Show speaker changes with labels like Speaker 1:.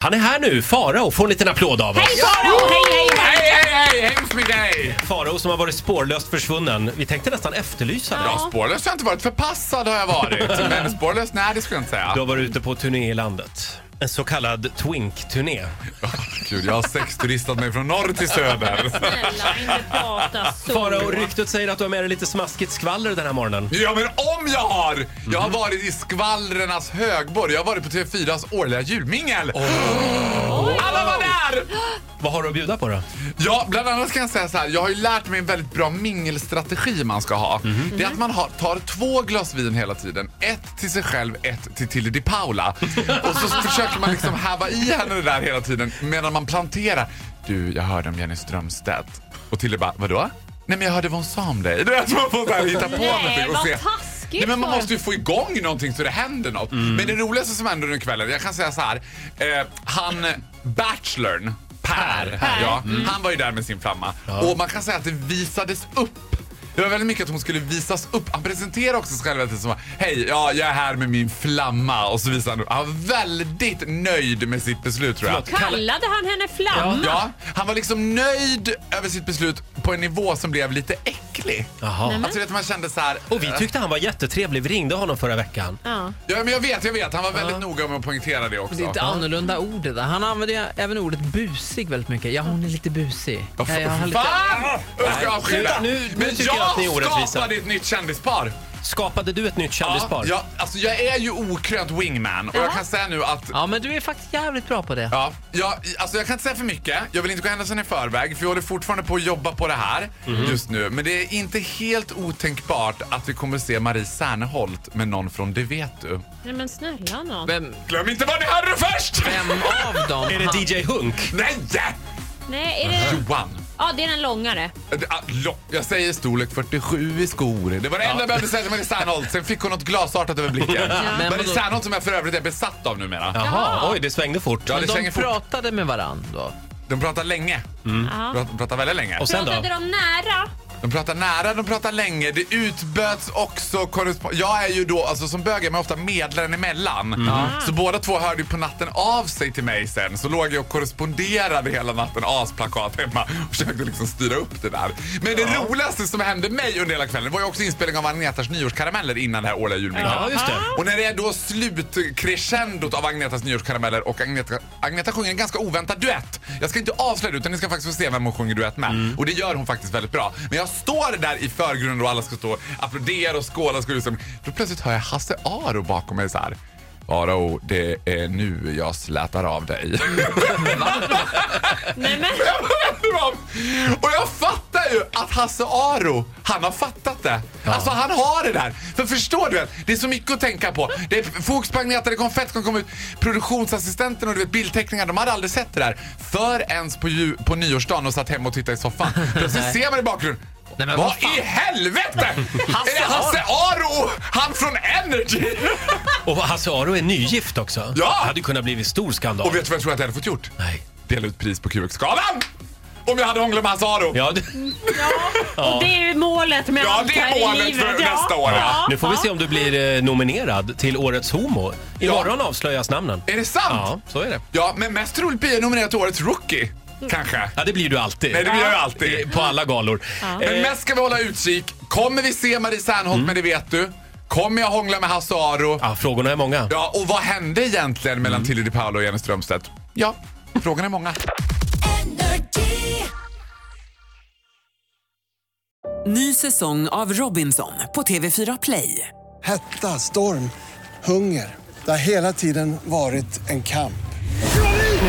Speaker 1: Han är här nu, Farao. Får en liten applåd av oss. Hej
Speaker 2: Farao! Hej, hej, hej!
Speaker 3: Hej, hemskt mycket hej!
Speaker 1: Farao som har varit spårlöst försvunnen. Vi tänkte nästan efterlysa dig.
Speaker 3: Ja, spårlös har jag inte varit. Förpassad har jag varit. Men spårlös, nej det skulle jag inte
Speaker 1: Du
Speaker 3: säga.
Speaker 1: har varit ute på turné i landet. En så kallad twink-turné.
Speaker 3: Gud, jag har sexturistat mig från norr till söder.
Speaker 2: Snälla, inte prata så.
Speaker 1: Farao, ryktet säger att du har med dig lite smaskigt skvaller den här morgonen.
Speaker 3: Ja, men om jag har! Jag har varit i skvallrarnas högborg. Jag har varit på TV4s årliga julmingel. Alla var där!
Speaker 1: Vad har du att bjuda på då?
Speaker 3: Ja, bland annat kan jag säga så här. Jag har ju lärt mig en väldigt bra mingelstrategi man ska ha.
Speaker 2: Mhm.
Speaker 3: Det är att man har, tar två glas vin hela tiden. Ett till sig själv, ett till Tilly Di Paula. Och så försöker man liksom häva i henne det där hela tiden medan man planterar. Du, jag hörde om Jenny Strömstedt. Och Tilly bara, vadå? Nej men jag hörde vad hon sa om dig. Det är att man får så här hitta på
Speaker 2: Nej,
Speaker 3: någonting och
Speaker 2: vad
Speaker 3: se.
Speaker 2: taskigt
Speaker 3: Nej, men man
Speaker 2: Farao.
Speaker 3: måste ju få igång någonting så det händer något. Men det roligaste som hände under kvällen, jag kan säga så här. Eh, han, bachelorn, Per, Mm. Ja, han var ju där med sin flamma. Och man kan säga att det visades upp. Det var väldigt mycket att hon skulle visas upp. Han presenterade också sig själv hela tiden som Hej, ja, jag är här med min flamma. Och så visade han upp. Han var väldigt nöjd med sitt beslut tror jag.
Speaker 1: Förlåt.
Speaker 2: Kallade han henne flamma?
Speaker 3: Ja, han var liksom nöjd över sitt beslut på en nivå som blev lite äcklig.
Speaker 1: Jaha.
Speaker 3: Alltså, du vet, man kände så här.
Speaker 1: Och vi tyckte han var jättetrevlig. Vi ringde honom förra veckan.
Speaker 2: Ja.
Speaker 3: Ja, men jag vet, jag vet. Han var väldigt noga med att poängtera det också.
Speaker 4: Det är ett annorlunda ord det där. Han använder ju även ordet busig väldigt mycket. Ja, hon är lite busig.
Speaker 3: Ja,
Speaker 4: Ja, jag har
Speaker 3: fan!
Speaker 4: lite...
Speaker 3: Jag ska avskilja.
Speaker 1: nu- nu
Speaker 3: Men
Speaker 1: tycker
Speaker 3: jag,
Speaker 1: jag att ni är orättvisa.
Speaker 3: skapade ett nytt kändispar.
Speaker 1: Skapade du ett nytt
Speaker 3: Ja,
Speaker 1: kändispar?
Speaker 3: ja, alltså jag är ju okrönt wingman och jag kan säga nu att
Speaker 4: Ja, men du är faktiskt jävligt bra på det.
Speaker 3: Ja, jag, alltså jag kan inte säga för mycket. Jag vill inte gå händelserna i förväg för jag håller fortfarande på att jobba på det här
Speaker 1: Mhm.
Speaker 3: just nu. Men det är inte helt otänkbart att vi kommer se Marie Serneholt med någon från Det vet du.
Speaker 2: Nej men snälla nån.
Speaker 4: Vem,
Speaker 3: Glöm inte vad ni hörde först!
Speaker 4: vem av dem?
Speaker 1: Är det DJ Hunk?
Speaker 3: Nej!
Speaker 2: Nej, är det...
Speaker 3: Johan.
Speaker 2: Ja, det är den långare.
Speaker 3: Det- ah, lo- Jag säger storlek 47 i skor. Det var det enda jag behövde säga till Marie Serneholt. Sen fick hon något glasartat över blicken.
Speaker 4: Men
Speaker 3: Marie
Speaker 4: vadå?
Speaker 3: Serneholt som jag för övrigt är besatt av numera.
Speaker 1: Jaha, oj det svängde fort.
Speaker 3: Ja, det
Speaker 4: han,
Speaker 3: svänger
Speaker 4: de
Speaker 3: fort.
Speaker 4: pratade med varann då?
Speaker 3: De pratar länge.
Speaker 4: Mm.
Speaker 2: Ja.
Speaker 3: De pratar väldigt länge.
Speaker 1: Och sen då?
Speaker 2: Pratade de nära?
Speaker 3: De pratar nära, de pratar länge. Det utböts också korrespond... Jag är ju då, alltså som bög är man ofta medlaren emellan. Mm. Så båda två hörde ju på natten av sig till mig sen. Så låg jag och korresponderade hela natten, asplakat hemma och försökte liksom styra upp det där. Men det roligaste som hände mig under hela kvällen var ju också inspelningen av Agnetas nyårskarameller innan det här årliga julminglet.
Speaker 1: Ja, just det.
Speaker 3: Och när det är då slutcrescendot av Agnetas nyårskarameller och Agneta, Agneta sjunger en ganska oväntad duett. Jag ska inte avslöja det utan ni ska faktiskt få se vem hon sjunger duett med. Och det gör hon faktiskt väldigt bra. Men jag står där i förgrunden och alla ska stå och applådera och skåla. Och ska liksom, då plötsligt hör jag Hasse Aro bakom mig så här. Aro, det är nu jag slätar av dig.
Speaker 2: Nej men...
Speaker 3: Jag vänder mig om. Och jag fattar ju att Hasse Aro, han har fattat det. Alltså han har det där. För förstår du, det är så mycket att tänka på. Det är fokus på Agneta, det är konfett som kom ut. Produktionsassistenten och du vet bildteckningar, de hade aldrig sett det där. Förrän på, ju, på nyårsdagen och satt hemma och tittade i soffan. Plötsligt ser man i bakgrunden.
Speaker 4: Nej, men
Speaker 3: vad
Speaker 4: vad fan?
Speaker 3: i helvete!
Speaker 4: Hasse
Speaker 3: är det Hasse Aro? Han från Energy!
Speaker 1: Och Hasse Aro är nygift också.
Speaker 3: Ja!
Speaker 1: Det hade kunnat blivit stor skandal.
Speaker 3: och vet du vad jag tror att jag hade fått gjort?
Speaker 1: Nej.
Speaker 3: Dela ut pris på QX-galan! Om jag hade hånglat med Hasse Aro!
Speaker 1: Ja, du...
Speaker 2: Och det är ju målet med
Speaker 3: Ja,
Speaker 2: allt
Speaker 3: det
Speaker 2: här
Speaker 3: är
Speaker 2: i
Speaker 3: målet
Speaker 2: livet.
Speaker 3: för nästa år. Ja.
Speaker 1: Nu får vi se om du blir eh, nominerad till Årets Homo. Imorgon avslöjas namnen.
Speaker 3: Är det sant?
Speaker 1: Ja, så är det.
Speaker 3: Ja, men mest troligt blir jag nominerad till årets rookie. Kanske.
Speaker 1: Ja, det blir du alltid.
Speaker 3: Nej, det blir jag ju
Speaker 1: Eh,
Speaker 3: alltid.
Speaker 1: På alla galor.
Speaker 3: Men
Speaker 1: Eh,
Speaker 3: mest ska vi hålla utkik. Kommer vi se Marie Serneholt men det vet du? Kommer jag hångla med Hasse Aro?
Speaker 1: Mm. ja, Mm. frågorna är många.
Speaker 3: Ja, och vad hände egentligen mellan Tilly Di Paolo och Jenny Strömstedt? Ja, frågan är många.
Speaker 5: Ny säsong av Robinson på TV4 Play.
Speaker 6: Hetta, storm, hunger. Det har hela tiden varit en kamp.
Speaker 7: Nu